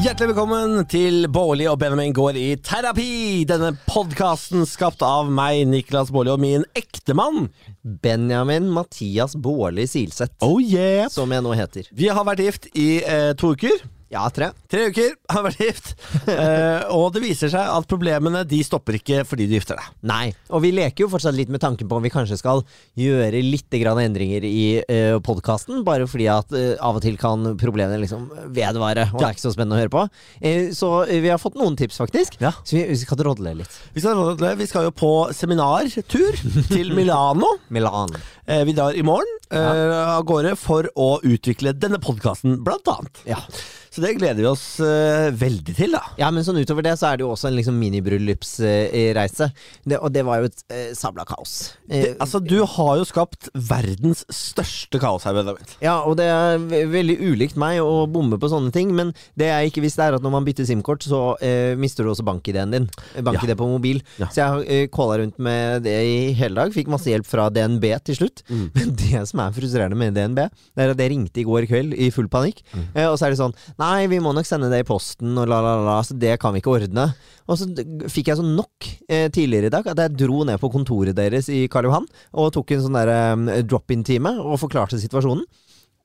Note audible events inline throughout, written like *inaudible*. Hjertelig velkommen til Bårli og Benjamin går i terapi. Denne podkasten skapt av meg, Niklas Bårli, og min ektemann. Benjamin Mathias Bårli Silseth, Oh yeah! som jeg nå heter. Vi har vært gift i eh, to uker. Ja, tre. Tre uker har vært *laughs* gift. Eh, og det viser seg at problemene de stopper ikke fordi du gifter deg. Nei. Og vi leker jo fortsatt litt med tanken på om vi kanskje skal gjøre litt grann endringer i uh, podkasten, bare fordi at eh, av og til kan problemene liksom vedvare, og det er ikke så spennende å høre på. Eh, så eh, vi har fått noen tips, faktisk. Ja. Så vi, vi skal drodle litt. Vi skal, vi skal jo på seminartur *laughs* til Milano. Milan. Eh, vi drar i morgen eh, av gårde for å utvikle denne podkasten, blant annet. Ja. Så det gleder vi oss eh, veldig til, da. Ja, men sånn utover det så er det jo også en liksom minibrryllupsreise, det, og det var jo et eh, sabla kaos. Eh, Det, altså, du har jo skapt verdens største kaos her, Benjamin. Ja, og det er ve- veldig ulikt meg å bomme på sånne ting, men det jeg ikke visste er at når man bytter SIM-kort, så eh, mister du også bankideen din. Eh, Bankidé på mobil. Ja. Så jeg har eh, calla rundt med det i hele dag, fikk masse hjelp fra DNB til slutt. *laughs* Men det som er frustrerende med DNB, det er at jeg ringte i går kveld i full panikk, eh, og så er det sånn Nei, vi må nok sende det i posten, og la, la, la, så det kan vi ikke ordne. Og så d- fikk jeg sånn nok eh, tidligere i dag at jeg dro ned på kontoret deres i Karl Johan og tok en sånn der eh, drop-in-time og forklarte situasjonen.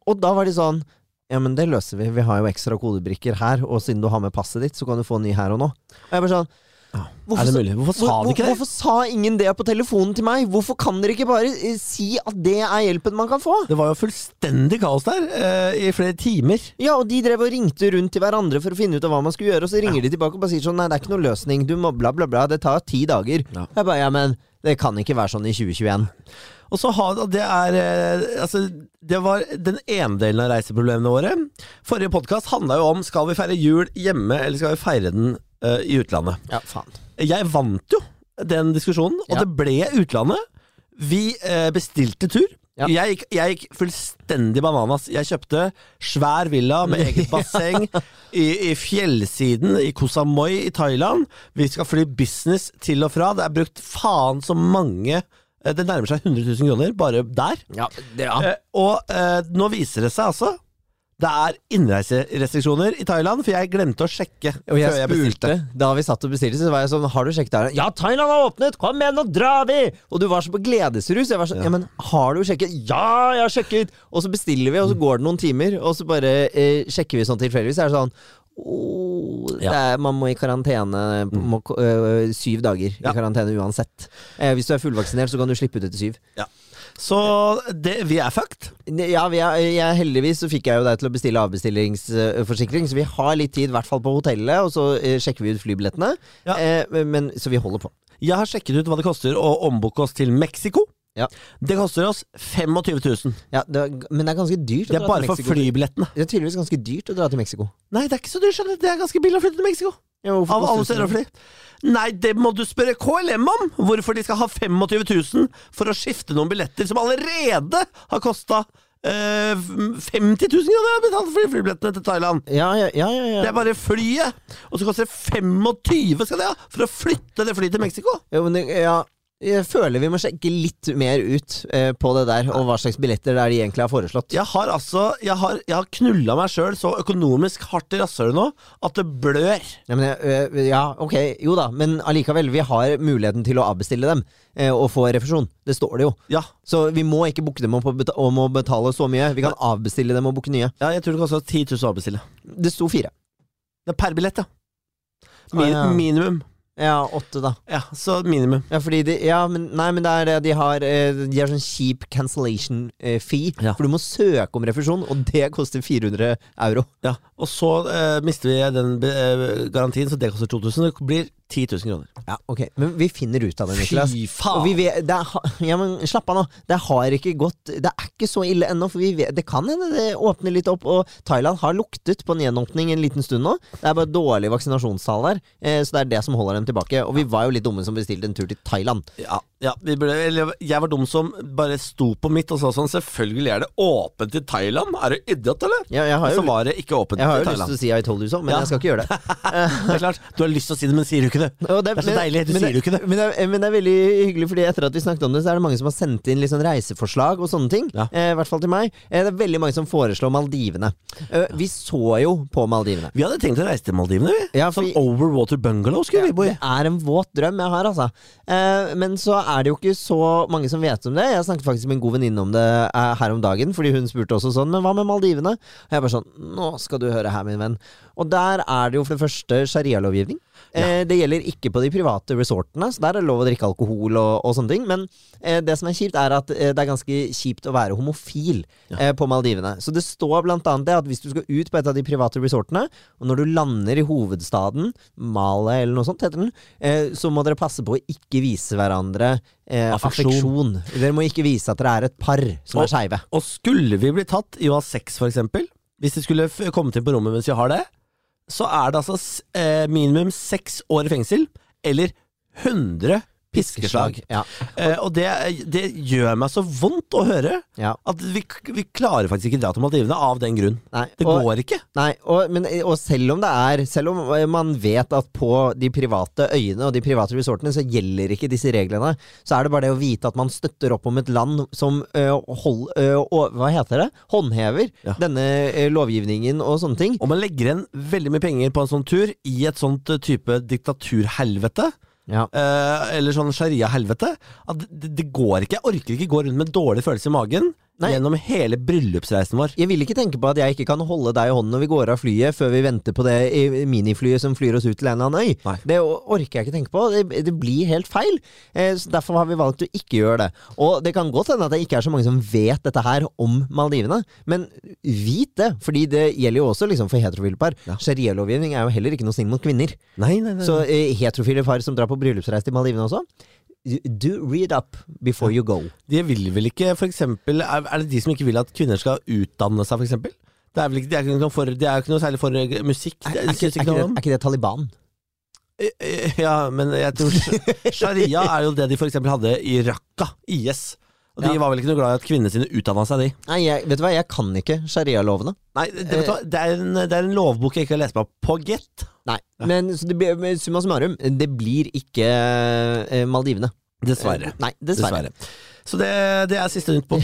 Og da var de sånn Ja, men det løser vi. Vi har jo ekstra kodebrikker her, og siden du har med passet ditt, så kan du få en ny her og nå. Og jeg bare sånn er det sa- mulig? Hvorfor sa de ikke det? Hvorfor sa ingen det på telefonen til meg? Hvorfor kan dere ikke bare eh, si at det er hjelpen man kan få? Det var jo fullstendig kaos der eh, i flere timer. Ja, og de drev og ringte rundt til hverandre for å finne ut av hva man skulle gjøre, og så ringer de tilbake og bare sier sånn Nei, det er ikke noen løsning, du må bla, bla, bla, det tar ti dager. Ja. Jeg bare Ja, men det kan ikke være sånn i 2021. Og så har og det er eh, Altså, det var den ene delen av reiseproblemene våre. Forrige podkast handla jo om skal vi feire jul hjemme, eller skal vi feire den eh, i utlandet. Ja, faen. Jeg vant jo den diskusjonen, og Ja. det ble utlandet. Vi eh, bestilte tur. Ja. Jeg, gikk, jeg gikk fullstendig bananas. Jeg kjøpte svær villa med *laughs* eget basseng i, i fjellsiden i Koh Samui i Thailand. Vi skal fly business til og fra. Det er brukt faen så mange eh, Det nærmer seg 100 000 kroner bare der. Ja, det, ja. Eh, og eh, nå viser det seg altså Det er innreiserestriksjoner i Thailand, for jeg glemte å sjekke Og jeg før jeg spurte, bestilte. da vi satt og bestilte, så var jeg sånn Har du sjekket her? Ja, Thailand har åpnet! Kom igjen, nå drar vi! Og du var så på gledesrus. Jeg var sånn, ja. men har du sjekket? Ja, jeg har sjekket! Og så bestiller vi, Mm. og så går det noen timer, og så bare eh, sjekker vi sånn tilfeldigvis. Så er det sånn «Åh, det er, man må i karantene må, ko- øh, syv dager Mm. Ja. i karantene uansett. Eh, hvis du er fullvaksinert, så kan du slippe ut etter syv. Ja. Så det, vi er fucked. Ne- Ja, vi er, jeg, heldigvis så fikk jeg jo deg til å bestille avbestillingsforsikring, så vi har litt tid, i hvert fall på hotellet, og så eh, sjekker vi ut flybillettene. Ja. Eh, men, så vi holder på. Jeg har sjekket ut hva det koster å ombooke oss til Mexico. Ja. Det koster oss 25 000. Ja, det er, g- men det er ganske dyrt. å Det er dra bare til for Mexico. flybillettene. Det er tydeligvis ganske dyrt å dra til Mexico. Nei, det er ikke så dyrt, skjønner du. Det er ganske billig å flytte til Mexico. Av alle steder å fly. Nei, det må du spørre KLM om! Hvorfor de skal ha 25 000 for å skifte noen billetter som allerede har kosta eh, 50 000 kroner jeg har betalt for de flybillettene til Thailand. Ja, ja, ja, ja, ja. Det er bare flyet! Og så koster det 25 skal det ha for å flytte det flyet til Mexico! Jo, men det- ja. Jeg føler vi må sjekke litt mer ut eh, på det der, og hva slags billetter det er de egentlig har foreslått. Jeg har altså Jeg har, jeg har knulla meg sjøl så økonomisk hardt i rasshølet nå at det blør. Ja, men, jeg- øh, ja, ok, jo da, men allikevel, vi har muligheten til å avbestille dem eh, og få refusjon. Det står det jo. Ja. Så vi må ikke booke dem om, å beta- om å betale så mye. Vi kan avbestille dem og booke nye. ja, jeg tror det koster 10 000 å avbestille. Det sto fire. Det er per billett, ja. Min, Ah, ja. Minimum. Ja, åtte, da. Ja, så minimum. Ja, fordi de, ja, men, nei, men det er det de har eh, De har sånn kjip cancellation eh, fee. Ja. For du må søke om refusjon, og det koster 400 euro. Ja, Og så eh, mister vi den eh, garantien, så det koster 2000. Det blir 10 000 kroner. Ja, ok Men vi finner ut av det, Niklas. Fy faen! Og vi vet, det er, ha- ja, men slapp av nå. Det har ikke gått Det er ikke så ille ennå, for vi vet, det kan hende det åpner litt opp. Og Thailand har luktet på en gjenåpning en liten stund nå. Det er bare dårlig vaksinasjonstall der, eh, så det er det som holder dem frem og tilbake. Og vi var jo litt dumme som bestilte en tur til Thailand. Ja, ja vi ble, eller, jeg var dum som bare sto på mitt og sa sånn Selvfølgelig er det åpent til Thailand! Er du idiot, eller? Ja, jeg har jo- og så var det ikke åpent Jeg har til jo lyst til Thailand. å si I told you so, men Ja. jeg skal ikke gjøre det. *laughs* Det er klart, Du har lyst til å si det, men sier du ikke det. *laughs* Og Det er så deilig, du men sier jo ikke det. Men det, er, men det er veldig hyggelig, Fordi etter at vi snakket om det, Så er det mange som har sendt inn litt sånn reiseforslag og sånne ting. Ja. Eh, I hvert fall til meg. Eh, det er veldig mange som foreslår Maldivene. Eh, vi så jo på Maldivene. Vi hadde tenkt å reise til Maldivene, vi. Ja, for sånn vi- over water bungalow skulle vi bo i. Det er en våt drøm jeg har, altså. Eh, men så er det jo ikke så mange som vet om det. Jeg snakket faktisk med en god venninne om det eh, her om dagen, fordi hun spurte også sånn, men hva med Maldivene? Og jeg bare sånn, nå skal du høre her, min venn. Og der er det jo for det første sharialovgivning. Eh, det gjelder ikke på de private resortene, så der er det lov å drikke alkohol og, og sånne ting. Men eh, det som er kjipt, er at eh, det er ganske kjipt å være homofil eh, på Maldivene. Så det står blant annet det at hvis du skal ut på et av de private resortene, og når du lander i hovedstaden, Male eller noe sånt heter den, eh, så må dere passe på å ikke vise hverandre eh, Affeksjon. affeksjon. Dere må ikke vise at dere er et par som Og- er skeive. Og skulle vi bli tatt i å ha sex, for eksempel, hvis de skulle f kommet inn på rommet mens vi har det, så er det altså s- eh, minimum seks år i fengsel, eller 100 piskeslag. Ja, Eh, og det, det gjør meg så vondt å høre ja. at vi, k- vi klarer faktisk ikke dra til Maldivene av den grunn. Nei, Det og- går ikke. Nei, og, men, og selv om det er Selv om eh, man vet at på de private øyene og de private resortene så gjelder ikke disse reglene, så er det bare det å vite at man støtter opp om et land som eh, hold, eh, og- Hva heter det? Håndhever Ja. denne eh, lovgivningen og sånne ting. Om man legger igjen veldig mye penger på en sånn tur i et sånt eh, type diktaturhelvete, Ja. eh, eller sånn sharia-helvete, at det, det går ikke. Jeg orker ikke gå rundt med en dårlig følelse i magen Nei. gjennom hele bryllupsreisen vår. Jeg vil ikke tenke på at jeg ikke kan holde deg i hånden når vi går av flyet, før vi venter på det i- miniflyet som flyr oss ut til en eller annen øy. Nei. Det o- orker jeg ikke tenke på. Det, det blir helt feil. Eh, så derfor har vi valgt å ikke gjøre det. Og det kan godt hende at det ikke er så mange som vet dette her om Maldivene, men vit det. Fordi det gjelder jo også liksom for heterofile par. Ja. Sharialovgivning er jo heller ikke noe snill mot kvinner. Nei, nei, nei. Så eh, heterofile par som drar på bryllupsreise til Maldivene også, do read up before you go. de vil vel ikke, for eksempel, er, er det de som ikke vil at kvinner skal utdanne seg, for eksempel? Det er vel ikke, de er ikke noe, for, de er jo ikke noe særlig for eh, musikk. Er, det- er, det ikke, synes er, ikke ikke noe det, om. er ikke det Taliban? Eh, eh, Ja, men jeg tror sh- Sharia er jo det de for eksempel hadde i Raqqa, IS. Og de Ja. var vel ikke noe glad i at kvinnene sine utdanna seg, de. Nei, jeg, vet du hva, jeg kan ikke sharialovene. Nei, det, vet du hva, det, er en, det er en lovbok jeg ikke har lest meg opp på, gitt. Nei, men så det blir, men summa summarum, det blir ikke eh, Maldivene. Dessverre. Nei, dessverre. Dessverre. Så det, det er siste nytt på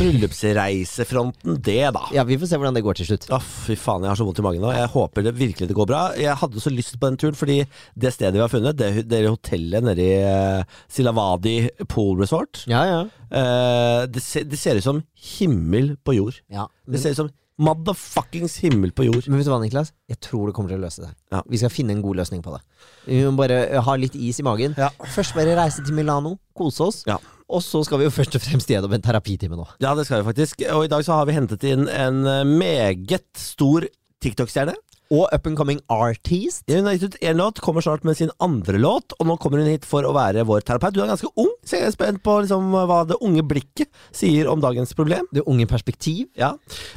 bryllupsreisefronten, det, da. Ja, Vi får se hvordan det går til slutt. Å, fy faen, jeg har så vondt i magen nå. Jeg håper det virkelig det går bra. Jeg hadde så lyst på den turen, fordi det stedet vi har funnet, det, det hotellet nede i eh, Silavadi Pool Resort, Ja, ja. eh, det, se, det ser ut som himmel på jord. ja. Det Men, ser ut som motherfuckings himmel på jord. men vet du hva, Niklas? Jeg tror det kommer til å løse seg. Ja. Vi skal finne en god løsning på det. Vi må bare eh, ha litt is i magen. Ja. Først bare reise til Milano, kose oss. Ja. Og så skal vi jo først og fremst gjennom en terapitime nå. Ja, det skal vi faktisk. Og i dag så har vi hentet inn en eh, meget stor TikTok-stjerne. Og Up and Coming Artist. Hun har gitt ut én låt, kommer snart med sin andre låt, og nå kommer hun hit for å være vår terapeut. Du er ganske ung, så jeg er spent på liksom, hva det unge blikket sier om dagens problem. Det unge perspektiv. Ja.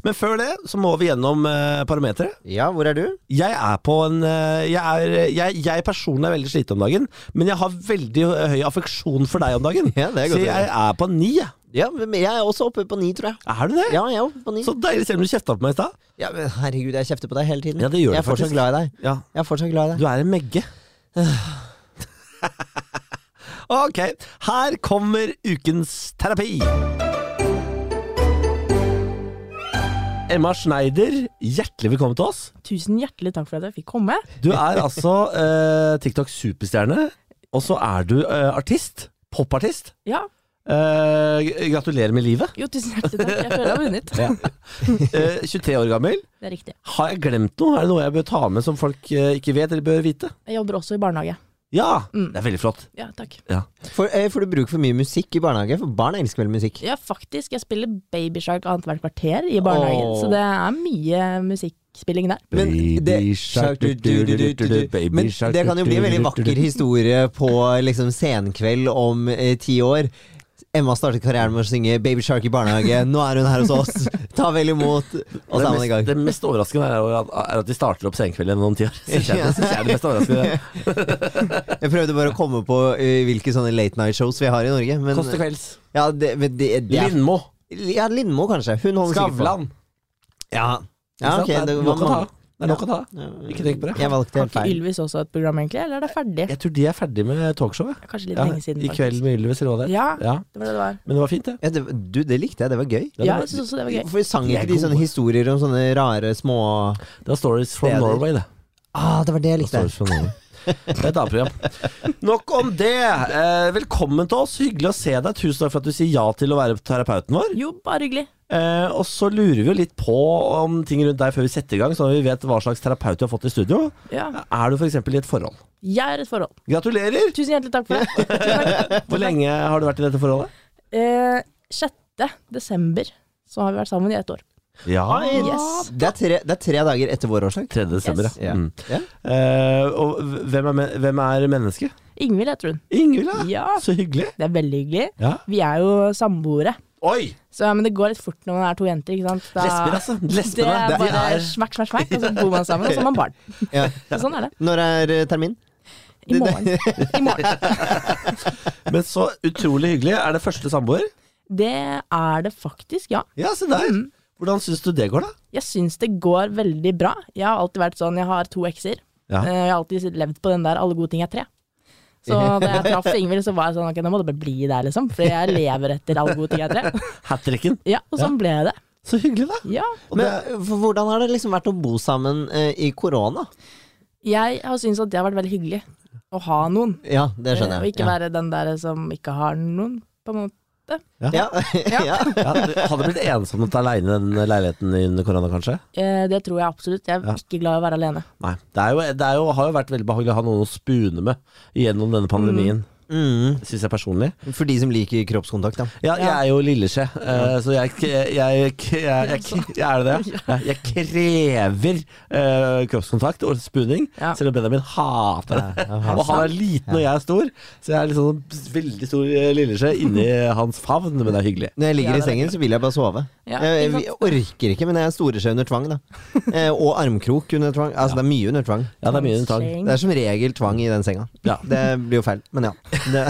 Men før det så må vi gjennom eh, parameteret. Ja, hvor er du? Jeg er på en eh, jeg, er, jeg, jeg personlig er veldig sliten om dagen, men jeg har veldig høy affeksjon for deg om dagen. Ja, det er godt så å jeg er på ni, jeg. Ja, men Jeg er også oppe på ni, tror jeg. Er du det? Ja, jeg er oppe på ni. Så deilig, selv om du kjefta på meg i stad. Ja, men herregud, jeg kjefter på deg hele tiden. Ja, det gjør jeg du er fortsatt faktisk. glad i deg. Ja, Jeg er fortsatt glad i deg. du er en megge. *sighs* ok, her kommer ukens terapi. Emma Schneider, hjertelig velkommen til oss. Tusen hjertelig takk for at jeg fikk komme. Du er altså eh, TikTok-superstjerne, og så er du eh, artist. Popartist. Ja, Eh, g- gratulerer med *laughs* livet. jo, tusen hjertelig takk. Jeg føler jeg har vunnet. Eh, 23 år gammel. *laughs* Det er riktig. Har jeg glemt noe? Er det noe jeg bør ta med som folk eh, ikke vet eller bør vite? Jeg jobber også i barnehage. Ja! Mm. Det er veldig flott. Ja, takk. For, eh, får du bruk for mye musikk i barnehage? For barn elsker vel musikk? Ja, faktisk. Jeg spiller Babyshark annethvert kvarter i barnehagen, Åh. så det er mye musikkspilling der. Men det, Baby shark, du, du, du, du, du, du, baby men shark, det kan jo du, bli en du, veldig du, du, vakker du. historie på liksom, senkveld om eh, ti år. Emma startet karrieren med å synge Baby Shark i barnehage. Nå er hun her hos *laughs* oss! Ta vel imot! Og så er man i gang. mest, det mest overraskende er, jo at, er at de starter opp senkveld igjen om ti *laughs* år. Synes jeg, det synes jeg er det mest overraskende. Jeg prøvde bare å komme på eh, hvilke sånne late night shows vi har i Norge. *laughs* Men, Kåss til kvelds. ja, det, men det, det er, Lindmo. ja, Lindmo, kanskje. Hun holder sikkert på. Skavlan. Ja. ja, ok. Ikke sant? Det er var nok å ta. mange. Det er nok å ta. Ja. Ikke tenk på det. Jeg valgte Har helt ikke feil. Ylvis også et program, egentlig? Eller er det ferdig? Jeg tror de er ferdig med talkshowet. Kanskje litt Ja, lenge siden. I kveld faktisk. med Ylvis, eller hva det er. Ja, Ja. det var det det var. Men det var fint, det. Ja, det, du, det likte jeg. Det var gøy. Det Ja, var- jeg syns også det var gøy. For vi sang De er ikke de sånne gode. historier om sånne rare små Det var Stories from Steder. Norway, det. Ah, det var det jeg Det var likte. Stories from Norway. Det er et annet program. *laughs* Nok om det. Eh, velkommen til oss. Hyggelig å se deg. Tusen takk for at du sier ja til å være terapeuten vår. Jo, bare hyggelig. Eh, og så lurer vi jo litt på om ting rundt deg før vi setter i gang, sånn at vi vet hva slags terapeut du har fått i studio. Ja. Er du f.eks. i et forhold? Jeg er i et forhold. Gratulerer! Tusen hjertelig takk for det. Tusen takk. Hvor lenge har du vært i dette forholdet? Eh, 6. desember så har vi vært sammen i ett år. Ja. Yes. Det, er tre, det er tre dager etter vår årsak. 3. desember, Yes. ja. Ja. Mm. Ja. Eh, og hvem er, men- hvem er mennesket? Ingvild heter hun. Ingvild, ja. Ja, Så hyggelig. det er veldig hyggelig. Ja. Vi er jo samboere, Oi! så, men det går litt fort når man er to jenter. ikke sant? Da- Lesber, *laughs* altså. Det Lesbene. er det bare er- smakk, smakk, smakk, og så bor man sammen, og så har man barn. Ja. Så sånn er det. Når er eh, termin? I morgen. I morgen. Men så utrolig hyggelig. Er det første samboer? Det er det faktisk, ja. Ja, se der. Mm. Hvordan syns du det går, da? Jeg syns det går veldig bra. Jeg har alltid vært sånn, jeg har to ekser. Ja. Eh, Jeg har alltid levd på den der 'alle gode ting er tre'. Så da jeg traff Ingvild, så var jeg sånn ok, nå må det bare bli der, liksom. For jeg lever etter 'alle gode ting er tre'. Hat tricken. Ja, og sånn ble det. Så hyggelig, da. Ja. Og Men, det, for hvordan har det liksom vært å bo sammen eh, i korona? Jeg har syntes at det har vært veldig hyggelig å ha noen. Ja, det eh, skjønner Og jeg. ikke være den der som ikke har noen, på en måte. ja. *laughs* Ja. ja. ja, du hadde blitt ensomt aleine i den leiligheten under korona, kanskje? Eh, Det tror jeg absolutt. Jeg er Ja. ikke glad i å være alene. Nei. Det, er jo, det er jo, har jo vært veldig behagelig å ha noen å spune med gjennom denne pandemien. Mm. Synes Syns jeg personlig. For de som liker kroppskontakt, da. Ja, jeg er jo lilleskje, eh, så jeg, jeg, jeg, jeg, jeg, jeg Er det det? Ja, Jeg krever eh, kroppskontakt og spuning, Ja. selv om Benjamin hater det. Ja, Og han er liten, og jeg er stor, så jeg er liksom veldig stor eh, lilleskje inni hans favn, men det er hyggelig. Når jeg ligger Ja, i det er sengen, så vil jeg bare sove. Ja, jeg, ikke jeg orker ikke, men jeg er storeskje under tvang, da. *laughs* Eh, og armkrok under tvang. Altså, det er mye under tvang. Ja, det er mye tang. Sleng. Det er som regel tvang i den senga. Ja. Det blir jo feil, *laughs* men ja. Det.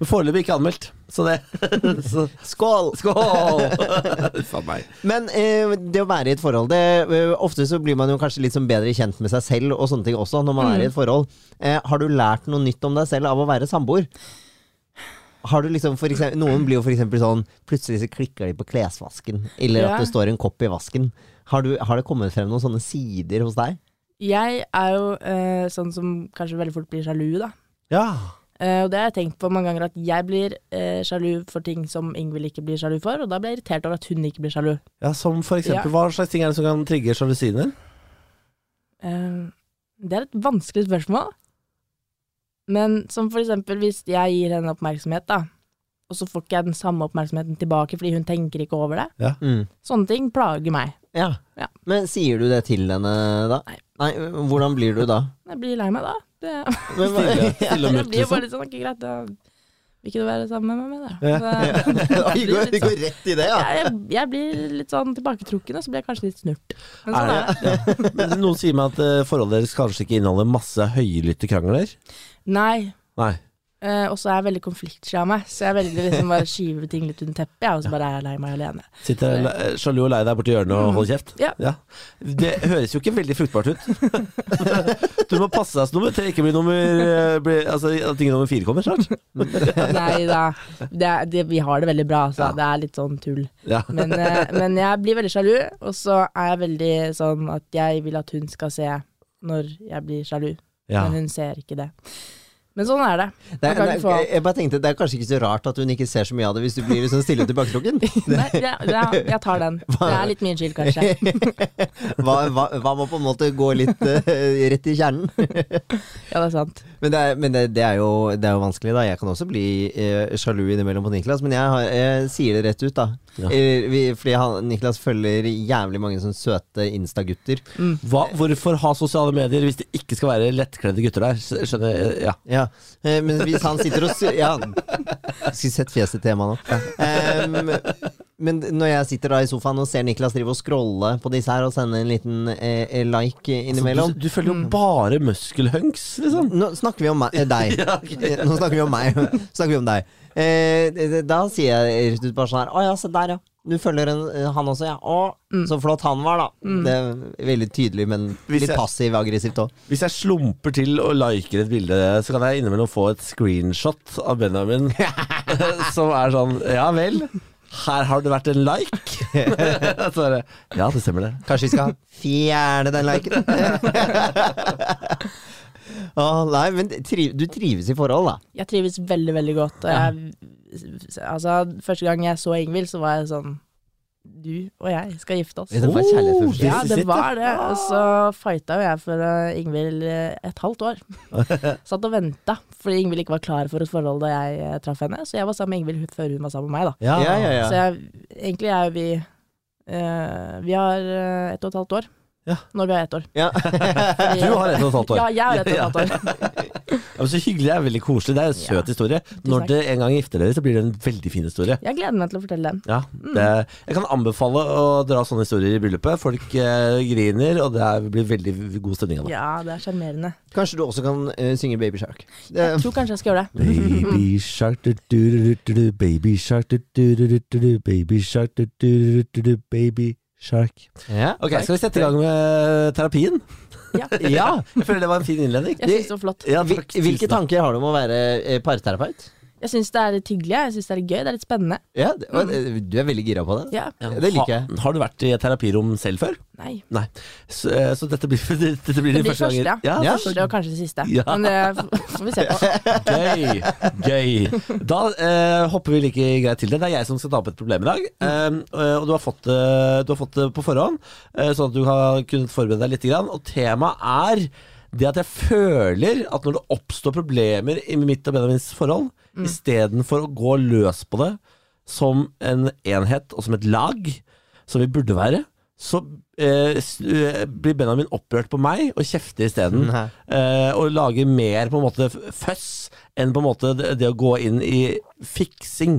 Men foreløpig ikke anmeldt, så det *laughs* så, Skål! Skål! *laughs* Faen meg. Men eh, det å være i et forhold det, eh, Ofte så blir man jo kanskje litt sånn bedre kjent med seg selv og sånne ting også, når man er i et forhold. Eh, har du lært noe nytt om deg selv av å være samboer? Har du liksom for eksempel, Noen blir jo for eksempel sånn Plutselig så klikker de på klesvasken, eller Ja. at det står en kopp i vasken. Har, du, har det kommet frem noen sånne sider hos deg? Jeg er jo eh, sånn som kanskje veldig fort blir sjalu, da. Ja. Eh, og det har jeg tenkt på mange ganger, at jeg blir eh, sjalu for ting som Ingvild ikke blir sjalu for, og da blir jeg irritert over at hun ikke blir sjalu. ja, som for eksempel, Ja. hva slags ting er det som kan trigge sjalusien din? Eh, det er et vanskelig spørsmål. Men som for eksempel hvis jeg gir henne oppmerksomhet, da, og så får ikke jeg den samme oppmerksomheten tilbake fordi hun tenker ikke over det. Sånne ting plager meg. Ja. Mm. Ja. Men sier du det til henne da? Nei. Nei, hvordan blir du da? Jeg blir lei meg da. Det, Men, *laughs* Stille, stille og jeg mutt, blir jo liksom. bare litt sånn, ikke greit, da vil ikke du være sammen med meg, Ja. da? Så, *laughs* vi, går, vi går rett i det, ja. jeg, jeg, jeg blir litt sånn tilbaketrukken, og så blir jeg kanskje litt snurt. Men sånn er det. Men Noen sier meg at eh, forholdet deres kanskje ikke inneholder masse høylytte krangler. Nei. Nei. eh, og så er jeg veldig konfliktsky av meg, så jeg velger liksom bare å skyve ting litt under teppet, jeg, og så bare er jeg lei meg alene. Sitter le- eh, sjalu og lei deg borti hjørnet og holder kjeft? Mm. Ja. Det høres jo ikke veldig fruktbart ut. *laughs* Du må passe deg så nummer tre ikke blir nummer eh, blir- Altså at ikke nummer fire kommer snart. Nei da. Det, er- det, vi har det veldig bra, altså. Ja. Det er litt sånn tull. Ja. Men, eh, men jeg blir veldig sjalu, og så er jeg veldig sånn at jeg vil at hun skal se når jeg blir sjalu. ja. Men hun ser ikke det. Men sånn er det. Det Man er, kan det, ikke er- få- jeg bare tenkte Det er kanskje ikke så rart at hun ikke ser så mye av det hvis du blir sånn stille og *laughs* tilbaketrukken. Nei, det, det, jeg tar *laughs* den. Det er litt min skyld, kanskje. *laughs* Hva, hva, hva må på en måte gå litt eh, rett i kjernen? Ja, det er sant. Men, det er, men det, det, er jo, det er jo vanskelig, da. Jeg kan også bli eh, sjalu innimellom på Niklas, men jeg, har, jeg sier det rett ut, da. Ja. Eh, vi, fordi han, Niklas følger jævlig mange sånne søte Insta-gutter. Mm. um, Hva, hvorfor ha sosiale medier hvis det ikke skal være lettkledde gutter der? Skjønner jeg, ja. Ja, Eh, Men hvis han sitter og sy- Ja, skulle sett fjeset til Emma nå. Em, men når jeg sitter da i sofaen og ser Niklas drive og scrolle på disse her og sende en liten eh, like innimellom Du, du følger Mm. jo bare muskelhunks, liksom. Nå snakker vi om meg, eh, deg. *laughs* Eh, Nå snakker vi om meg. snakker vi om deg. Eh, det- det- da sier jeg rett ut bare sånn her Å ja, se der, ja. Du følger en, eh, han også, ja. Å, så flott han var, da. Det er veldig tydelig, men Mm. Hvis litt jeg- passiv-aggressivt òg. Hvis jeg slumper til og liker et bilde, så kan jeg innimellom få et screenshot av Benjamin *laughs* som er sånn Ja vel, her har det vært en like. *laughs* så bare, ja, det stemmer det. Kanskje vi skal fjerne den *laughs* liken? Å, nei, men triv, du trives i forhold, da. Jeg trives veldig, veldig godt. Og jeg, altså, første gang jeg så Ingvild, så var jeg sånn Du og jeg skal gifte oss. Det var Oh, kjærlighet ved første Ja, This is det it, var da. det. altså. Og så fighta jo jeg for eh, Ingvild eh, et halvt år. *laughs* Satt og venta, fordi Ingvild ikke var klar for et forhold da jeg eh, traff henne. Så jeg var sammen med Ingvild før hun var sammen med meg, da. Ja, Ja, ja, Så ja. jeg, egentlig er vi eh, Vi har eh, ett og et halvt år. Ja. *laughs* Når vi har ett år. *laughs* ja. Fordi- Du har ett og et halvt år. Ja, jeg har ett og et halvt år. Ja, men så hyggelig. Det er veldig koselig. Det er en søt historie. Når takk. dere en gang gifter dere, så blir det en veldig fin historie. Jeg gleder meg til å fortelle den. Ja, det, jeg kan anbefale å dra sånne historier i bryllupet. Folk eh, griner, og det er, blir veldig god stemning av det. Ja, det er sjarmerende. Kanskje du også kan eh, synge Baby Shark. Eh, Jeg Det- tror kanskje jeg skal gjøre det. Baby shark du, du, du, du, du, baby shark du, du, du, du, du, du, baby shark du, du, du, du, du, baby shark. ja. Ok, skal vi sette i gang med terapien? Ja. Ja. Jeg føler det var en fin innledning. Jeg syns det var flott. Ja, Hvil- takk, tusen Hvilke takk. tanker har du om å være eh, parterapeut? Jeg syns det er litt hyggelig, jeg syns det er litt gøy, det er litt spennende. Ja, det- og, eh, du er veldig gira på det. Ja. Det liker jeg. Ha, har du vært i et terapirom selv før? Nei. Nei. Så, eh, så dette blir, *laughs* dette blir Det din blir første gang? første, ja. ja. så Første og kanskje det siste. Ja. Men det får vi se *laughs* på. Gøy! Gøy. Da eh, hopper vi like greit til det. Det er jeg som skal ta opp et problem i dag. Eh, og du har fått det, du har fått det på forhånd, eh, sånn at du har kunnet forberede deg litt. Grann. Og temaet er det at jeg føler at når det oppstår problemer i mitt og Benjamins forhold, istedenfor å gå løs på det som en enhet og som et lag, som vi burde være, så eh, s- eh, blir Benjamin opprørt på meg og kjefter isteden. Nei. Eh, og lager mer på en måte f- føss enn på en måte det, det å gå inn i fiksing.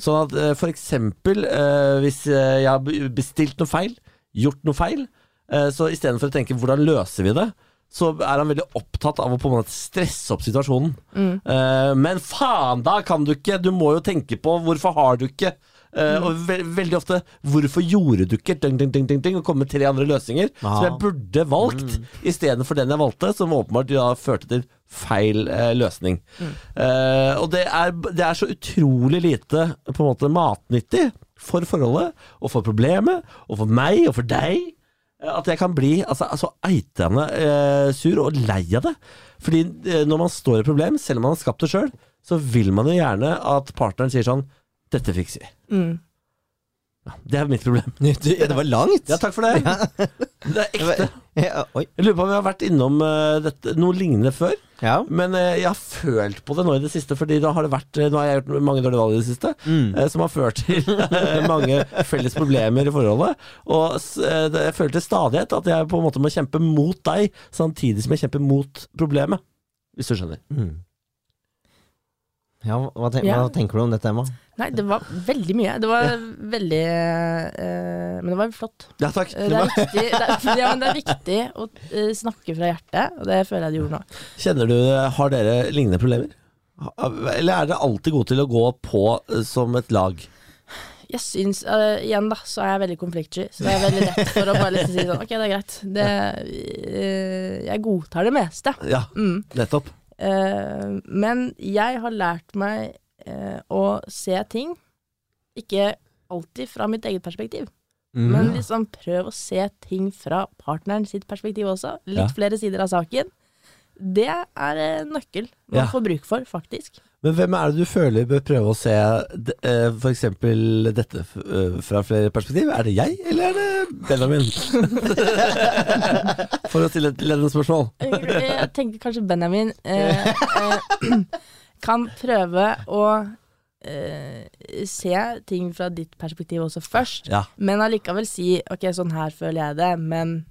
Sånn at eh, for eksempel eh, hvis eh, jeg har be- bestilt noe feil, gjort noe feil, eh, så istedenfor å tenke hvordan løser vi det, så er han veldig opptatt av å på en måte stresse opp situasjonen. Eh, men faen, da kan du ikke! Du må jo tenke på hvorfor har du ikke? Eh, Og ve veldig ofte 'hvorfor gjorde du ikke?' Ding, ding, ding, ding, ding, og komme med tre andre løsninger som jeg burde valgt, istedenfor den jeg valgte, som åpenbart da førte til feil eh, løsning. Eh, og det er, det er så utrolig lite på en måte matnyttig for forholdet, og for problemet, og for meg, og for deg. eh, At jeg kan bli altså, altså eitende eh, sur og lei av det. Fordi eh, når man står i et problem, selv om man har skapt det sjøl, så vil man jo gjerne at partneren sier sånn 'Dette fikser vi'. Mm. Det er mitt problem. Det var langt. Ja, takk for det. Det er ekte. Ja, Oi. Jeg lurer på om vi har vært innom eh, dette, noe lignende før. Ja. Men eh, jeg har følt på det nå i det siste, Fordi da har det vært eh, Nå har jeg gjort mange dårlige valg i det siste, Mm. eh, som har ført til *laughs* eh, mange felles problemer i forholdet. Og s- eh, det- jeg føler til stadighet at jeg på en måte må kjempe mot deg, samtidig som jeg kjemper mot problemet. Hvis du skjønner. Mm. Ja, hva, ten Ja. hva tenker du om dette, Emma? Nei, det var veldig mye. Det var veldig eh, Men det var flott. Ja, takk. Eh, Det er viktig, det er, ja, men det er viktig å eh, snakke fra hjertet, og det føler jeg du gjorde nå. Kjenner du eh, Har dere lignende problemer? Ha- Eller er dere alltid gode til å gå på eh, som et lag? Jeg syns, eh, igjen da, så er jeg veldig konfliktsky, så det er veldig lett for å bare liksom si sånn Ok, det er greit. Det, eh, jeg godtar det meste. Ja, Mm. nettopp. Eh, men jeg har lært meg eh, å se ting, ikke alltid fra mitt eget perspektiv, Mm. men liksom prøv å se ting fra partneren sitt perspektiv også. Litt Ja. flere flere sider av saken. Det er eh, nøkkel man man Ja. får bruk for, faktisk. Men hvem er det du føler bør prøve å se d- eh, for eksempel dette f- eh, fra flere perspektiv? Er det jeg, eller er det Benjamin? *laughs* for å stille et ledende spørsmål. Jeg tenker kanskje Benjamin eh, eh, *clears throat* kan prøve å eh, se ting fra ditt perspektiv også først, Ja. men allikevel si ok, sånn her føler jeg det, men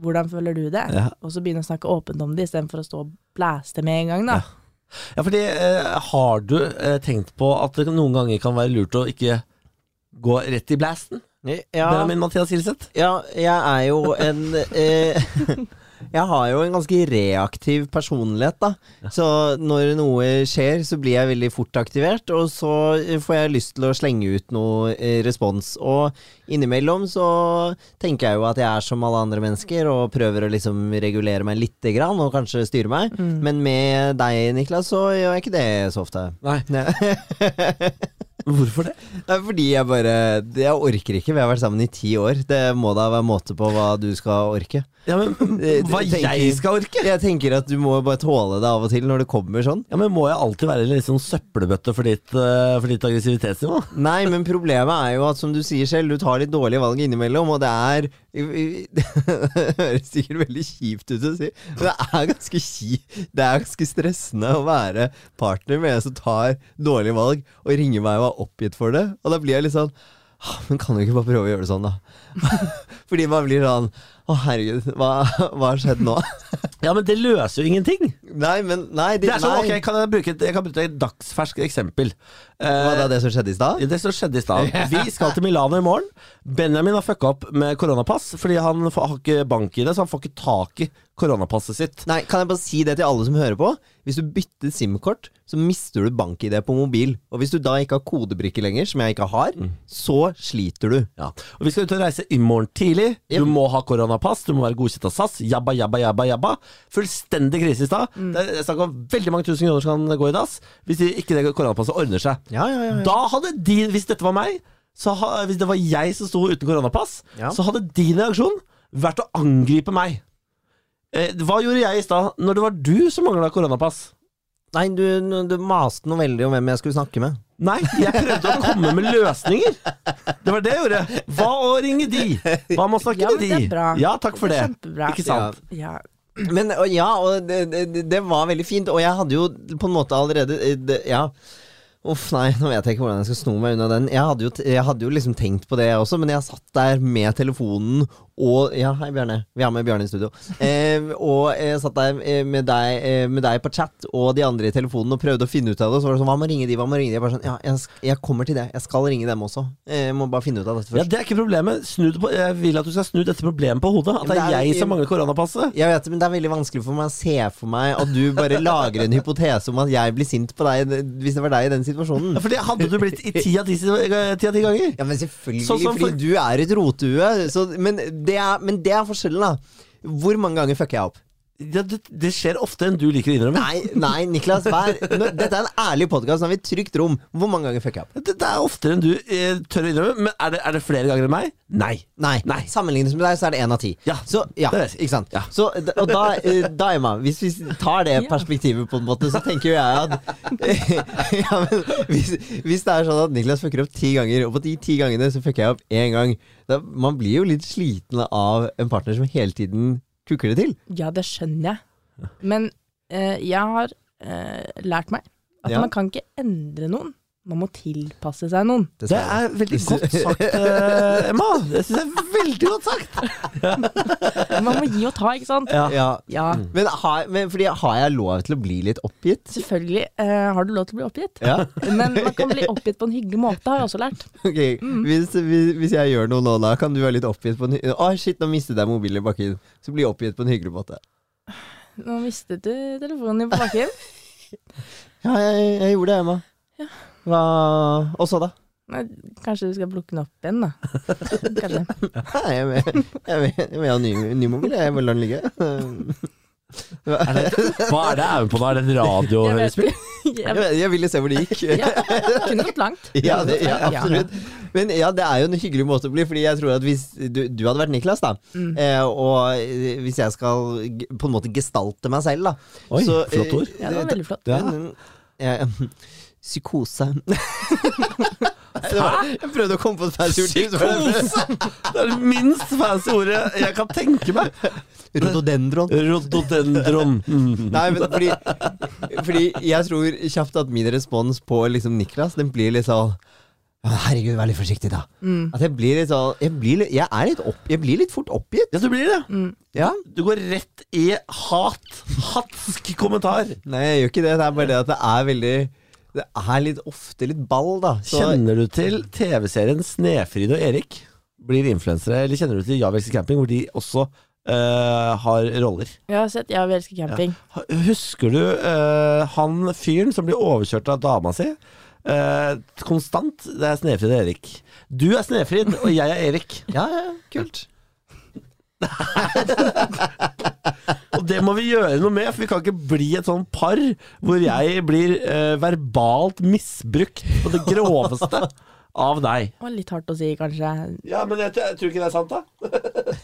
hvordan føler du det? Ja. Og så begynne å snakke åpent om det istedenfor å stå og blæste med en gang, da. Ja, fordi eh, Har du eh, tenkt på at det noen ganger kan være lurt å ikke gå rett i blasten? Ja, Benjamin Mathias Hilseth? ja, jeg er jo en eh, Jeg har jo en ganske reaktiv personlighet, da. Så når noe skjer, så blir jeg veldig fort aktivert, og så får jeg lyst til å slenge ut noe eh, respons. Og innimellom så tenker jeg jo at jeg er som alle andre mennesker, og prøver å liksom regulere meg lite grann, og kanskje styre meg. Men med deg, Niklas, så gjør jeg ikke det så ofte. Nei. Hvorfor det? Nei, fordi jeg bare Jeg orker ikke. Vi har vært sammen i ti år. Det må da være måte på hva du skal orke. Ja, *laughs* men Hva Eh, tenker- jeg skal orke? Jeg tenker at du må bare tåle det av og til når det kommer sånn. Ja, men Må jeg alltid være litt sånn søppelbøtte for ditt, eh, for ditt aggressivitetsnivå? Nei, men problemet er jo at som du sier selv, du tar litt dårlige valg innimellom, og det er *laughs* Det høres sikkert veldig kjipt ut å si, men det er ganske kjipt. Det er ganske stressende å være partner med en som tar dårlige valg, og ringer meg og er oppgitt for det. Og da blir jeg litt sånn «Ah, men kan du ikke bare prøve å gjøre det sånn, da? *laughs* Fordi man blir sånn Å, herregud, hva hva har skjedd nå? *laughs* Ja, men det løser jo ingenting. Nei, men Nei. Det er sånn, nei. ok, kan jeg, bruke, et- jeg kan bruke et dagsferskt eksempel. Hva Eh, da, det som skjedde i stad? det som skjedde i stad. Vi skal til Milano i morgen. Benjamin har fucka opp med koronapass, fordi han får- har ikke bank i det, så han får ikke tak i koronapasset sitt. Nei, kan jeg bare si det til alle som hører på? Hvis du bytter SIM-kort, så mister du bank-ID på mobil. Og hvis du da ikke har kodebrikke lenger, som jeg ikke har, så sliter du. Ja. Og vi skal ut og reise i morgen tidlig. Du Yep. må ha koronapass, du må være godkjent av SAS. Jabba, jabba, jabba, jabba. Fullstendig krise i stad. Mm. Det er snakk om veldig mange tusen kroner som kan gå i dass hvis de- ikke det koronapasset ordner seg. Ja, ja, ja. Da hadde din, hvis dette var meg, så ha, hvis det var jeg som sto uten koronapass, Ja. så hadde din reaksjon vært å angripe meg. Eh, hva gjorde jeg i stad, når det var du som mangla koronapass? Nei, du, du maste noe veldig om hvem jeg skulle snakke med. Nei, jeg prøvde å komme med løsninger. Det var det jeg gjorde. Hva å ringe de? Hva med å snakke Ja, med men de? det er bra. Ja, takk for Det det. er kjempebra. Ikke sant? Ja. Men og, ja, og det, det, det var veldig fint, og jeg hadde jo på en måte allerede eh, det, Ja. Uff, nei, nå vet jeg ikke hvordan jeg skal sno meg unna den. Jeg hadde jo, t- jeg hadde jo liksom tenkt på det, jeg også, men jeg satt der med telefonen og Ja, hei, Bjarne. Vi har med Bjarne i studio. Eh, og jeg satt der eh, med deg, eh, med deg på chat og de andre i telefonen og prøvde å finne ut av det. Og så var det sånn, hva med å ringe de, hva med å ringe de? Jeg bare sånn, ja, jeg, sk- jeg kommer til det. Jeg skal ringe dem også. Eh, Jeg må bare finne ut av dette først. Ja, Det er ikke problemet. Snu det på, jeg vil at du skal snu dette problemet på hodet. At Men det det er er jo jeg ikke- som mangler koronapasset. Jeg vet det, men det er veldig vanskelig for meg å se for meg at du bare lager en hypotese om at jeg blir sint på deg hvis det var deg i den Ja, situasjonen. Fordi Hadde du blitt i ti av ti, eh, ti, av ti ganger Ja, men selvfølgelig, Sånn som for- fordi du er et rotehue. så- Men, det er- men det er forskjellen, da. Hvor mange ganger fucker jeg opp? ja, det, det skjer oftere enn du liker å innrømme. Nei, nei, Niklas. Vær, nå, dette er en ærlig podkast. Nå har vi et trygt rom. Hvor mange ganger fucker jeg opp? Det, det er oftere enn du eh, tør å innrømme. Men er det, er det flere ganger enn meg? Nei. Nei. Nei. Sammenlignet med deg, så er det én av ti. Ja, så, ja det vet jeg. ikke sant? Ja. Så, og da, eh, da Emma, hvis vi tar det Ja. perspektivet, på en måte, så tenker jo jeg at *laughs* ja, men, hvis, hvis det er sånn at Niklas fucker opp ti ganger, og på de ti gangene så fucker jeg opp én gang da, Man blir jo litt sliten av en partner som hele tiden kukker det til. Ja, det skjønner jeg. Men eh, jeg har eh, lært meg at Ja. man kan ikke endre noen. Man må tilpasse seg noen. Det er veldig godt sagt, eh, Emma. Det syns jeg er veldig godt sagt. Man må gi og ta, ikke sant? Ja. ja. Ja, Men, har, men fordi, har jeg lov til å bli litt oppgitt? selvfølgelig eh, har du lov til å bli oppgitt. Ja. Men man kan bli oppgitt på en hyggelig måte, har jeg også lært. Ok, Mm. hvis, hvis, hvis jeg gjør noe nå, da kan du være litt oppgitt på en hy- Å, shit, nå mistet jeg mobilen i bakken. Så bli oppgitt på en hyggelig måte. Nå mistet du telefonen din på bakken. Ja, jeg, jeg gjorde det, Emma. Ja. Hva Og så, da? Nei, Kanskje du skal plukke den opp igjen, da. Kanskje. Nei, jeg vil, jeg vil, jeg vil ha ny, ny mobil. Jeg vil la den ligge. *laughs* Er det, hva er det jeg er med på nå? Er det et radiohørespill? Jeg, Jeg, jeg ville se hvor det gikk. ja, kunne gått langt. Ja, det, ja, Ja. absolutt. Men ja, det er jo en hyggelig måte å bli, fordi jeg tror at hvis du, du hadde vært Niklas, da, eh, og eh, hvis jeg skal g- på en måte gestalte meg selv, da Oi, så, eh, flott ord. Ja, det var veldig flott. Ja. Men, eh, *laughs* Psykose. Det *laughs* var- jeg prøvde å komme på et fancy ord. til, så var det- Psykose! Det er det minst fancy ordet jeg kan tenke meg. Rododendron. Rododendron. Mm. *laughs* Nei, men fordi, fordi jeg tror kjapt at min respons på liksom Niklas, den blir litt sånn Ja, men herregud, vær litt forsiktig, da. Mm. At jeg blir litt sånn Jeg blir, litt- jeg er litt, opp, jeg blir litt fort oppgitt. Ja, du blir det. Mm. Ja. Du går rett i hat. Hatsk kommentar. Nei, jeg gjør ikke det. Det er bare det at det er veldig Det er litt ofte litt ball, da. Så, Kjenner du til TV-serien Snefrid og Erik blir influensere? Eller kjenner du til Ja, vi elsker camping, hvor de også eh, har roller? Jeg har sett Jeg vil elske camping. Husker du eh, han fyren som blir overkjørt av dama si? Eh, konstant. Det er Snefrid og Erik. Du er Snefrid, og jeg er Erik. Ja, ja, kult. Og det må vi gjøre noe med, for vi kan ikke bli et sånn par hvor jeg blir eh, verbalt misbrukt på det groveste av deg. Det var litt hardt å si, kanskje. Ja, men jeg, jeg tror ikke det er sant, da.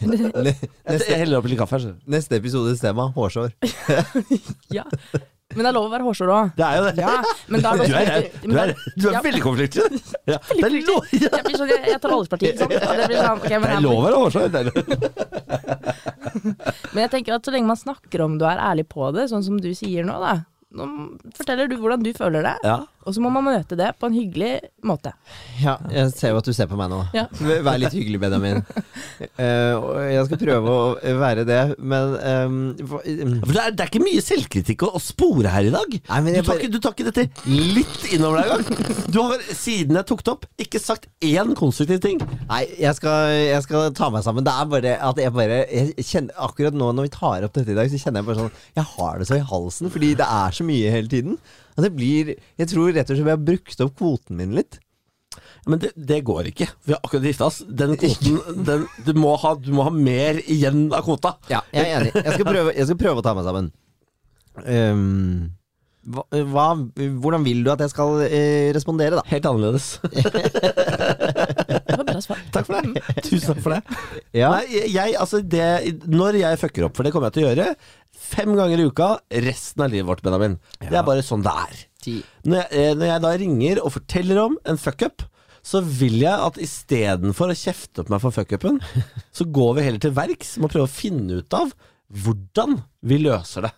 Ne- Jeg, Neste, jeg heller opp litt kaffe. altså. her skjønner du. neste episodes tema *laughs* hårsår. Ja. Men det er lov å være hårsår òg. Det er jo det. Ja, men da Du er, rau. du men da- er, du er Ja. veldig konfliktsky. Ja. Det er lov ja. Jeg, blir sånn, jeg, jeg tar alles parti, ikke sant? Og det blir sånn, ok, Det men, er her- lov å være hårsår. det er lov. men jeg tenker at så lenge man snakker om det og er ærlig på det, sånn som du sier nå, da. Nå forteller du hvordan du føler det, Ja. og så må man møte det på en hyggelig måte. Ja, jeg ser jo at du ser på meg nå. Ja. Vær litt hyggelig, *laughs* Benjamin. Eh, og jeg skal prøve å være det, men ehm, hva- ehm, For det, er, det er ikke mye selvkritikk å, å spore her i dag. Nei, men Du jeg tar, bare ikke, du tar ikke dette litt innover deg engang. Du har siden jeg tok det opp, ikke sagt én konstruktiv ting. Nei, jeg skal, jeg skal ta meg sammen. Det er bare at jeg bare jeg kjenner, Akkurat nå når vi tar opp dette i dag, så kjenner jeg bare sånn Jeg har det så i halsen, fordi det er så mye hele tiden. At det blir Jeg tror rett og slett jeg har brukt opp kvoten min litt. Men det, det går ikke. Vi har akkurat gifta oss. Den kvoten *laughs* den, du, må ha, du må ha mer igjen av kvota. Ja, jeg er enig. Jeg skal prøve, jeg skal prøve å ta meg sammen. Ehm, hva, hva, hvordan vil du at jeg skal eh, respondere, da? Helt annerledes. Det var bra *laughs* svar. Takk for det. Tusen takk for det. Ja, Nei, jeg, jeg, altså det, når jeg fucker opp, for det kommer jeg til å gjøre fem ganger i uka resten av livet vårt, Benjamin. Det er bare sånn det er. ti. Når jeg, eh, når jeg da ringer og forteller om en fuckup, så vil jeg at istedenfor å kjefte på meg for *laughs* fuckupen, så går vi heller til verks med å prøve å finne ut av hvordan vi løser det.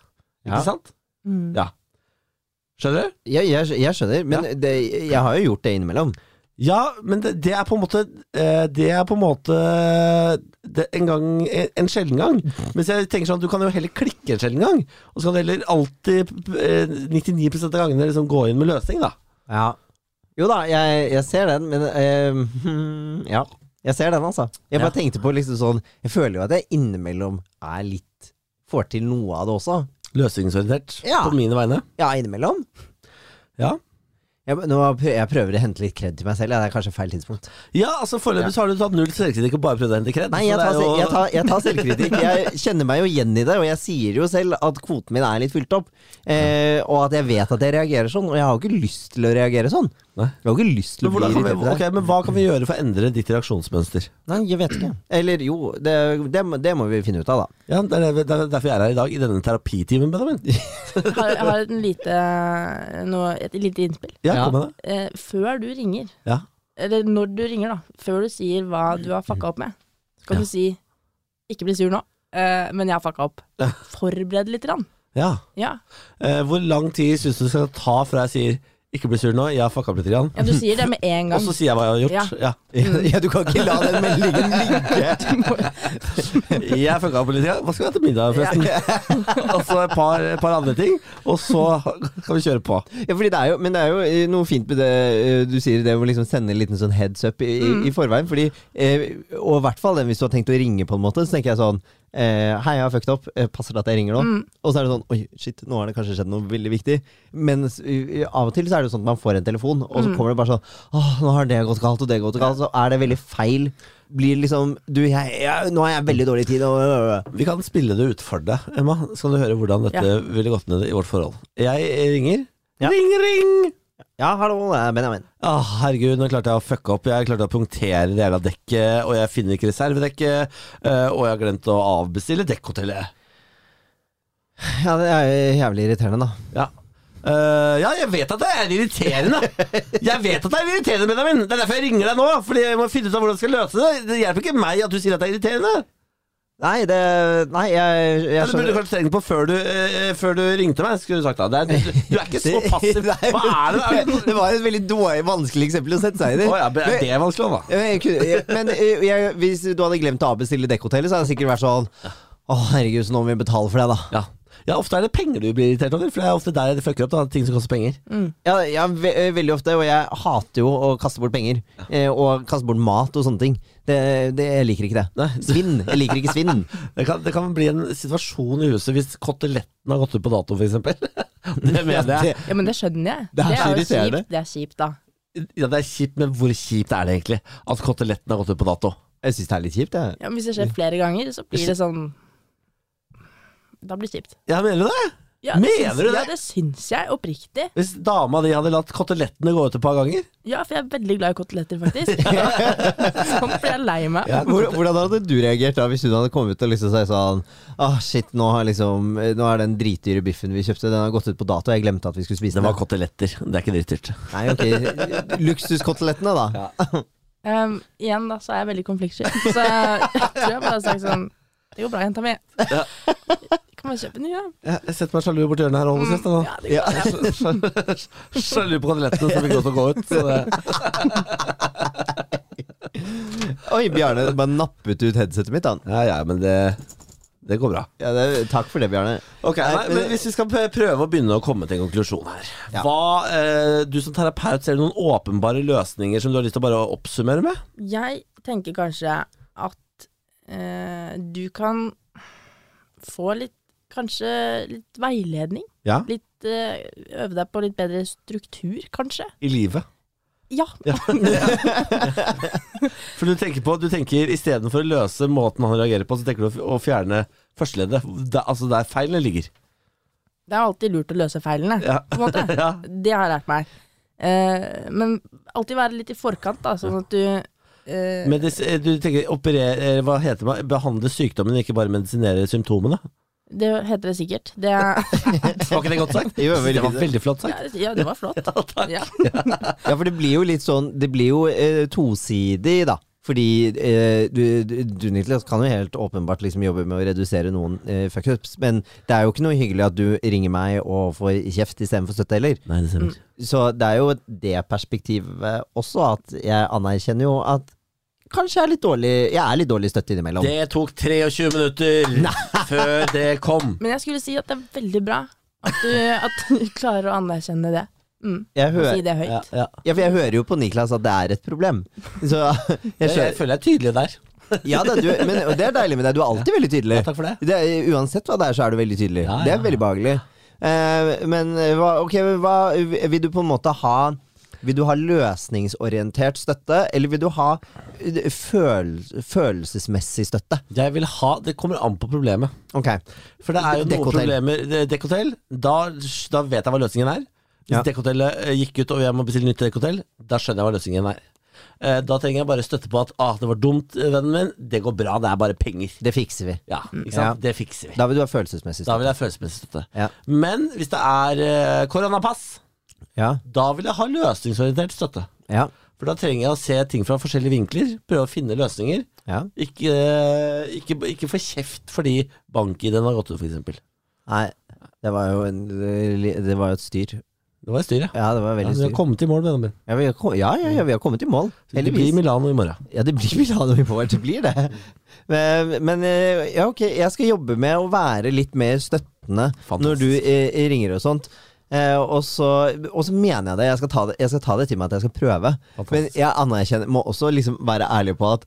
Ikke Ja. sant? Mm. Ja. Skjønner du? Jeg, jeg, jeg skjønner, men det, jeg har jo gjort det innimellom. Ja, men det, det er på en måte eh, Det er på en måte det, En gang, en, en sjelden *laughs* gang. Mens jeg tenker sånn, du kan jo heller klikke en sjelden gang. Og så kan du heller alltid, eh, 99 av gangene, liksom gå inn med løsning, da. Ja. Jo da, jeg, jeg ser den, men eh, hmm, *laughs* Ja. Jeg ser den, altså. Jeg bare Ja. tenkte på liksom sånn Jeg føler jo at jeg innimellom er litt Får til noe av det også. Løsningsorientert Ja. på mine vegne. Ja, innimellom. Ja. Jeg, nå, prø- jeg prøver å hente litt kred til meg selv. Ja, det er kanskje feil tidspunkt. Ja, altså Foreløpig så har du tatt null selvkritikk og bare prøvd å hente kred. så Nei, jeg det er tar, jo- se- jeg tar, jeg tar selvkritikk. Jeg kjenner meg jo igjen i det, og jeg sier jo selv at kvoten min er litt fylt opp. Eh, og at jeg vet at jeg reagerer sånn, og jeg har jo ikke lyst til å reagere sånn. Nei. Jeg har jo ikke lyst til men, å bli hvordan kan vi, irritert. ok, men hva kan vi gjøre for å endre ditt reaksjonsmønster? Nei, jeg vet ikke. Eller jo, det, det, må- det må vi finne ut av, da. Ja, Det er det- det er derfor jeg er her i dag, i denne terapitimen, Benjamin. Jeg har, jeg har en lite, noe, et lite innspill. Ja, Ja. kom med det. Eh, før du ringer, Ja. eller når du ringer, da, før du sier hva du har fucka opp med, skal Ja. du si 'ikke bli sur nå, eh, men jeg har fucka opp'. Forbered litt. Grann. Ja. Ja. Eh, hvor lang tid syns du det skal ta fra jeg sier 'ikke bli sur nå', jeg har fucka opp litt, grann. ja, du sier det med *laughs* en og gang. så sier jeg hva jeg har gjort? Ja. *laughs* Ja, du kan ikke la den meldingen *laughs* ligge. Jeg fucka opp litt, grann. Hva skal vi ha til middag, forresten? *laughs* og så et par, et par andre ting, og så kan vi kjøre på. Ja, fordi det er jo, men det er jo eh, noe fint med det eh, du sier, det å liksom sende en liten sånn heads up i, i, i forveien. Fordi, eh, og i hvert fall den hvis du har tenkt å ringe, på en måte, så tenker jeg sånn eh, Hei, jeg har fucked opp. Eh, Passer det at jeg ringer nå? Og så er det sånn Oi, shit, nå har det kanskje skjedd noe veldig viktig. Men av og til så er det jo sånn at man får en telefon, og så kommer det bare sånn Åh, nå har det gått galt, og det gått galt. Så er det veldig feil. Blir liksom Du, jeg, jeg, nå har jeg veldig dårlig tid. Og, øh, Vi kan spille det ut for deg, Emma. Skal du høre hvordan dette Ja. ville gått ned i vårt forhold. Jeg ringer. Ja. Ring, ring! Ja, hallo, det er Benjamin. Ah, herregud, nå klarte jeg å fucke opp. Jeg klarte å punktere det jævla dekket, og jeg finner ikke reservedekket, eh, og jeg har glemt å avbestille dekkhotellet. Ja, det er jo jævlig irriterende, da. Ja. Eh, ja, jeg vet at det er irriterende! Jeg vet at det er irriterende, Benjamin! Det er derfor jeg ringer deg nå, fordi jeg må finne ut av hvordan jeg skal løse det. Det hjelper ikke meg at du sier at det er irriterende. Nei, det Nei, jeg, Ja, jeg du burde skjønner kanskje tenkt på før du, eh, før du ringte meg. skulle Du sagt da. Det er, du, du er ikke *laughs* så passiv. Hva Nei, er det? Er det Det var et veldig dårlig, vanskelig eksempel å sette seg inn i. Å ja, er det vanskelig, da? Ja, Men, jeg kunne- jeg, men eh, jeg, hvis du hadde glemt å avbestille dekkhotellet, så hadde jeg sikkert vært sånn Å, herregud, så nå må vi betale for det, da. Ja. ja, ofte er det penger du blir irritert over, for det er ofte der det fucker opp. da, Ting som koster penger. Ja, ja ve eh, veldig ofte, og jeg hater jo å kaste bort penger. eh, Og kaste bort mat og sånne ting. Det, det, jeg liker ikke det. Svinn. Jeg liker ikke svinn. *laughs* Det kan, det kan bli en situasjon i huset hvis koteletten har gått ut på dato, f.eks. *laughs* Det mener jeg. Ja, men det skjønner jeg. Det er så jo irriterende. kjipt, det er kjipt, da. Ja, det er kjipt, men hvor kjipt er det egentlig at koteletten har gått ut på dato? Jeg syns det er litt kjipt, jeg. Ja, men hvis det skjer flere ganger, så blir det sånn Da blir det kjipt. Ja, mener du det? Ja, Mener syns- du det? Ja, det syns jeg oppriktig. Hvis dama di hadde latt kotelettene gå ut et par ganger? Ja, for jeg er veldig glad i koteletter, *laughs* faktisk. sånn blir jeg lei meg. Hvor- Hvordan hadde du reagert da hvis du hadde kommet ut og liksom sagt sånn Åh, shit, nå, har liksom, eh, nå er den dritdyre biffen vi kjøpte, den har gått ut på dato, og jeg glemte at vi skulle spise Det den. var koteletter. Det er ikke dritdyrt. Nei, ok. Luksuskotelettene, da. Um, igjen, da, så er jeg veldig konfliktsky. Så jeg tror jeg bare har sagt sånn Det går bra, jenta mi. Kan man kjøpe en ny, ja? Jeg setter meg sjalu borti hjørnet her og holder kjeft. Ja, det går bra. *laughs* Sjalu på kotelettene som fikk lov til å gå ut. Så det. Oi, Bjarne bare nappet ut headsetet mitt, han. Ja, ja, men det, det går bra. Ja, det, takk for det, Bjarne. Ok, nei, men- men Hvis vi skal p- prøve å begynne å komme til en konklusjon her Ja. Hva, eh, Du som terapeut, ser du noen åpenbare løsninger som du har lyst til å bare oppsummere med? Jeg tenker kanskje at eh, du kan få litt Kanskje litt veiledning. Ja. Litt, eh, øve deg på litt bedre struktur, kanskje. I livet. Ja. For du tenker på, du tenker istedenfor å løse måten han reagerer på, så tenker du å f- å fjerne førsteleddet. Det- Altså der feilene ligger. *laughs* Det er alltid lurt å løse feilene, Ja. på en måte. *laughs* Ja. Det har jeg lært meg. Eh, men alltid være litt i forkant, da, sånn at du eh, Men det, s- du tenker operere, hva heter det, behandle sykdommen, ikke bare medisinere *laughs* symptomene? Det heter det sikkert. Det er, *laughs* Var ikke det godt sagt? Jo, veldig det var fint. veldig flott sagt. ja, det var flott. Ja. Ja, for det blir jo litt sånn Det blir jo eh, tosidig, da. Fordi eh, du, du, du, Niklas, kan jo helt åpenbart liksom jobbe med å redusere noen eh, fuckups, men det er jo ikke noe hyggelig at du ringer meg og får kjeft istedenfor støtte heller. Nei, det stemmer. Så det er jo det perspektivet også, at jeg anerkjenner jo at kanskje jeg er litt dårlig Jeg er litt dårlig støtte innimellom. Mm. Det tok 23 minutter før det kom. Men jeg skulle si at det er veldig bra at du, at du klarer å anerkjenne det. Mm. Jeg Og hører, si det høyt. Ja, ja. ja, for jeg hører jo på Niklas at det er et problem. Så *laughs* jeg Jeg, jeg skjønner. føler jeg er tydelig der. Ja, da, du, men, og det er deilig med deg. Du er alltid veldig tydelig. Takk for det. Det er, uansett hva det er, så er du veldig tydelig. Ja, ja, Det er veldig behagelig. Eh, men eh, hva, ok, hva, vil du på en måte ha Vil du ha løsningsorientert støtte, eller vil du ha eh, føl, følelsesmessig støtte? Jeg vil ha, Det kommer an på problemet. Ok. For det er jo noen Dekkhotell. problemer det- Dekkhotell, da, da vet jeg hva løsningen er. Hvis Ja. dekkhotellet eh, gikk ut og jeg må bestille nytt dekkhotell, da skjønner jeg hva løsningen er. Eh, Da trenger jeg bare støtte på at ah, 'det var dumt, eh, vennen min', det går bra, det er bare penger. Det fikser vi. Ja, ikke Mm, Ja. sant? Det fikser vi. Da vil du ha følelsesmessig Da støtte. vil jeg ha følelsesmessig støtte. Ja. Men hvis det er eh, koronapass, Ja, da vil jeg ha løsningsorientert støtte. ja, For da trenger jeg å se ting fra forskjellige vinkler, prøve å finne løsninger. ja. Ikke, eh, ikke, ikke få kjeft fordi bank-ID-en har gått ut, f.eks. Nei, det var jo en, eh, Det var jo et styr. Det var et styr, ja. Ja, det var ja veldig vi har styr. kommet i mål, vennen min. Ja, vi har, kom- ja, ja, ja, vi har kommet i mål. Det blir Milano i morgen. Ja, det blir *laughs* Milano i vår, det blir det. Men, men eh, ja, ok, jeg skal jobbe med å være litt mer støttende Fantastisk. når du eh, ringer og sånt. Eh, og, så, og så mener jeg det, jeg skal, ta det, jeg skal ta det til meg at jeg skal prøve. Men Fantastisk. jeg anerkjenner, må også liksom være ærlig på at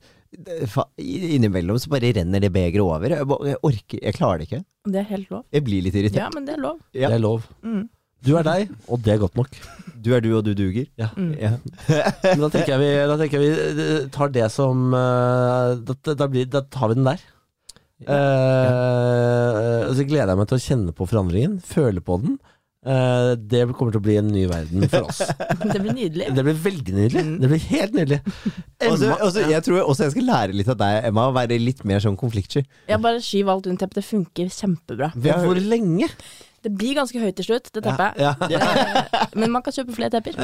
eh, fa- innimellom så bare renner det begeret over. Jeg, bare- jeg orker, jeg klarer det ikke. Det er helt lov. Jeg blir litt irritert. Ja, men det er lov. Ja. Det er lov. Mm. Du er deg, og det er godt nok. Du er du, og du duger. Ja. Ja. Men *laughs* da tenker jeg vi, da tenker jeg vi eh, tar det som eh, da, da, blir, da tar vi den der. Eh, og så gleder jeg meg til å kjenne på forandringen, føle på den. Eh, det kommer til å bli en ny verden for *laughs* oss. Det blir nydelig. Det blir veldig nydelig. Det blir helt nydelig. Emma, Og så- og så- Altså, jeg tror også jeg skal lære litt av deg, Emma, å være litt mer sånn konfliktsky. Jeg bare skyver alt under teppet. Det funker kjempebra. hvor- hvor lenge? Det blir ganske høyt til slutt, det teppet. Ja. Eh, Eh, Men man kan kjøpe flere tepper.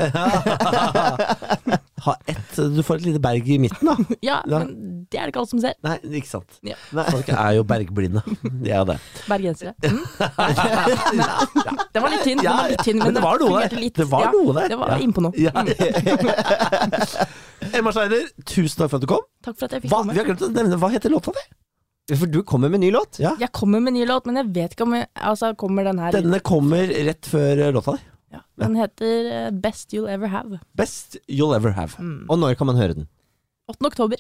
Ha ett Du får et lite berg i midten, da. Ja, Ja. men det er det ikke alle som ser. Nei, ikke sant. Ja. Nei. Folk er jo bergblinde. De er jo *laughs* det. Bergensere. Mm. Ja, Den var litt tynn, den Ja, var litt tynn men, *laughs* men det var noe fungerte der. litt. Det var noe der. Det var Ja. innpå noe. Mm. ja. *laughs* Emma Schneider, tusen takk for at du kom. Takk for at jeg fikk Hva, komme. vi har glemt å nevne, hva heter låta di? For du kommer med ny låt. Ja. Jeg kommer med en ny låt, men jeg vet ikke om jeg, altså, kommer den her Denne kommer rett før eh, låta di. ja. Den heter eh, Best You'll Ever Have. Best you'll ever have. Mm. Og når kan man høre den? 8. oktober.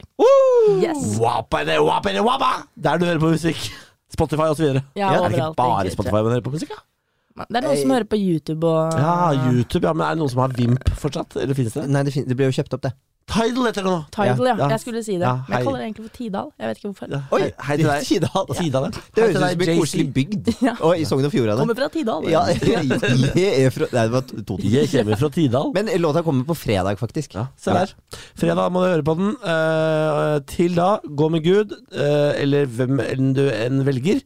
Yes. Wapene, wapene, wapa! Der du hører på musikk. Spotify og så videre. Ja, er det ikke overalt, bare egentlig, Spotify man hører på musikk? Ja? Det er noen som hører på YouTube og ja, YouTube, ja. Men er det noen som har Vimp fortsatt? Eller finnes det? Nei, det, fin det ble jo kjøpt opp, det. Tidal heter det nå. Tidal, ja. Ja, ja. Jeg skulle si det. Ja, men hei. jeg kaller det egentlig for Tidal. Jeg vet ikke hvorfor. Ja, Oi, hei, hei til deg. Kidal. Tidal, ja. Det Hei til høres ut deg, som en JC. koselig bygd. *laughs* Ja. Og i Sogn og Fjordane. Kommer fra Tidal. Ja, *laughs* jeg er fra Nei, det var Toten. Jeg kommer fra Tidal. Men låta kommer på fredag, faktisk. Se der. Fredag må du høre på den. Eh, til da, gå med Gud, eh, eller hvem enn du enn velger.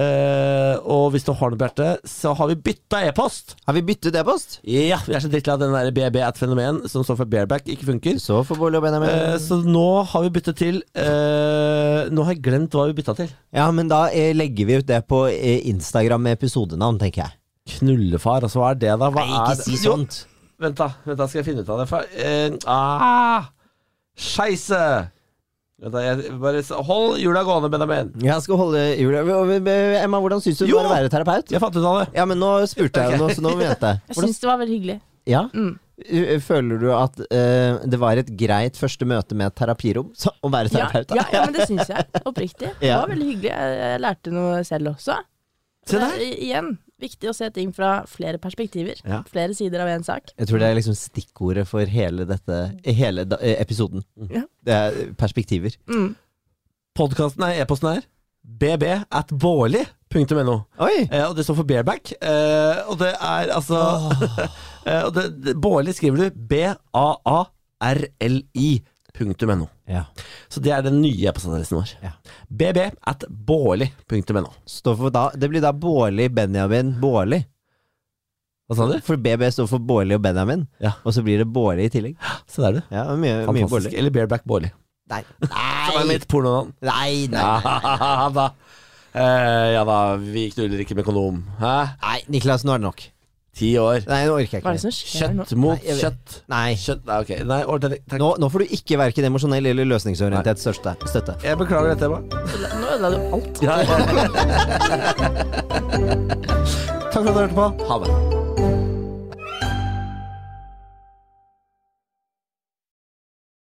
Eh, og hvis du har noe på hjertet, så har vi bytta e-post! Har vi byttet e-post? Ja, vi er så drittlei av den der BB at fenomen som står for bareback, ikke funker. Så får Bolle og Benjamin Eh, så nå har vi byttet til eh, Nå har jeg glemt hva vi bytta til. Ja, men da eh, legger vi ut det på eh, Instagram med episodenavn, tenker jeg. Knullefar, altså hva er det, da? Hva Nei, ikke er si det? Jo, sånt. Vent, da. vent da, Skal jeg finne ut av det? For, eh, ah, Scheisse! Vent da, jeg bare, hold hjula gående, Benjamin. Jeg skal holde jula Emma, hvordan syns du det Jo! var å være terapeut? Jeg fant ut av det. Ja, men nå spurte jeg jo noe, så nå må vi vente. Jeg Hvordan, syns det var veldig hyggelig. ja? Mm. U- Føler du at eh, det var et greit første møte med et terapirom? Så, å være Ja, terapeut, da? ja, ja, men det syns jeg. Oppriktig. Det Ja. var veldig hyggelig. Jeg, jeg lærte noe selv også. Se Det der. er i- eh, igjen viktig å se ting fra flere perspektiver. Ja. Flere sider av én sak. Jeg tror det er liksom stikkordet for hele dette Hele da, eh, episoden. Ja. Det er perspektiver. Mm. Podkasten er e-posten her. bb at bårli.no. Oi! Eh, og det står for bareback. Eh, og det er altså eh, og det, det, Bårli skriver du b-a-a-r-l-i. punktum .no. Ja. Så det er den nye e-postadressen vår. Ja. bb at bårli.no. *laughs* Står for da, det blir da Bårli Benjamin Bårli. Hva sa du? For BB står for Bårli og Benjamin, Ja. og så blir det Bårli i tillegg. Se der, du. Ja, det er mye, mye Fantastisk. Bårli. Eller bareback Bårli. Nei. Som er mitt pornonavn. Nei, nei, *laughs* Ja da. Eh, ja da, vi knuller ikke med kondom. Hæ? nei, Niklas, nå er det nok. Ti år. Nei, nå orker jeg Hva er ikke. det mer. som skjer nå? Kjøtt mot Nei, jeg vet- kjøtt. Nei. Kjøtt, nei, ok. Nei, ordentlig, takk. Nå, nå får du ikke verken emosjonell eller løsningsorientert største, støtte. Jeg beklager dette, Emma. Nå ødela du alt. Takk for at du hørte på. Ha det.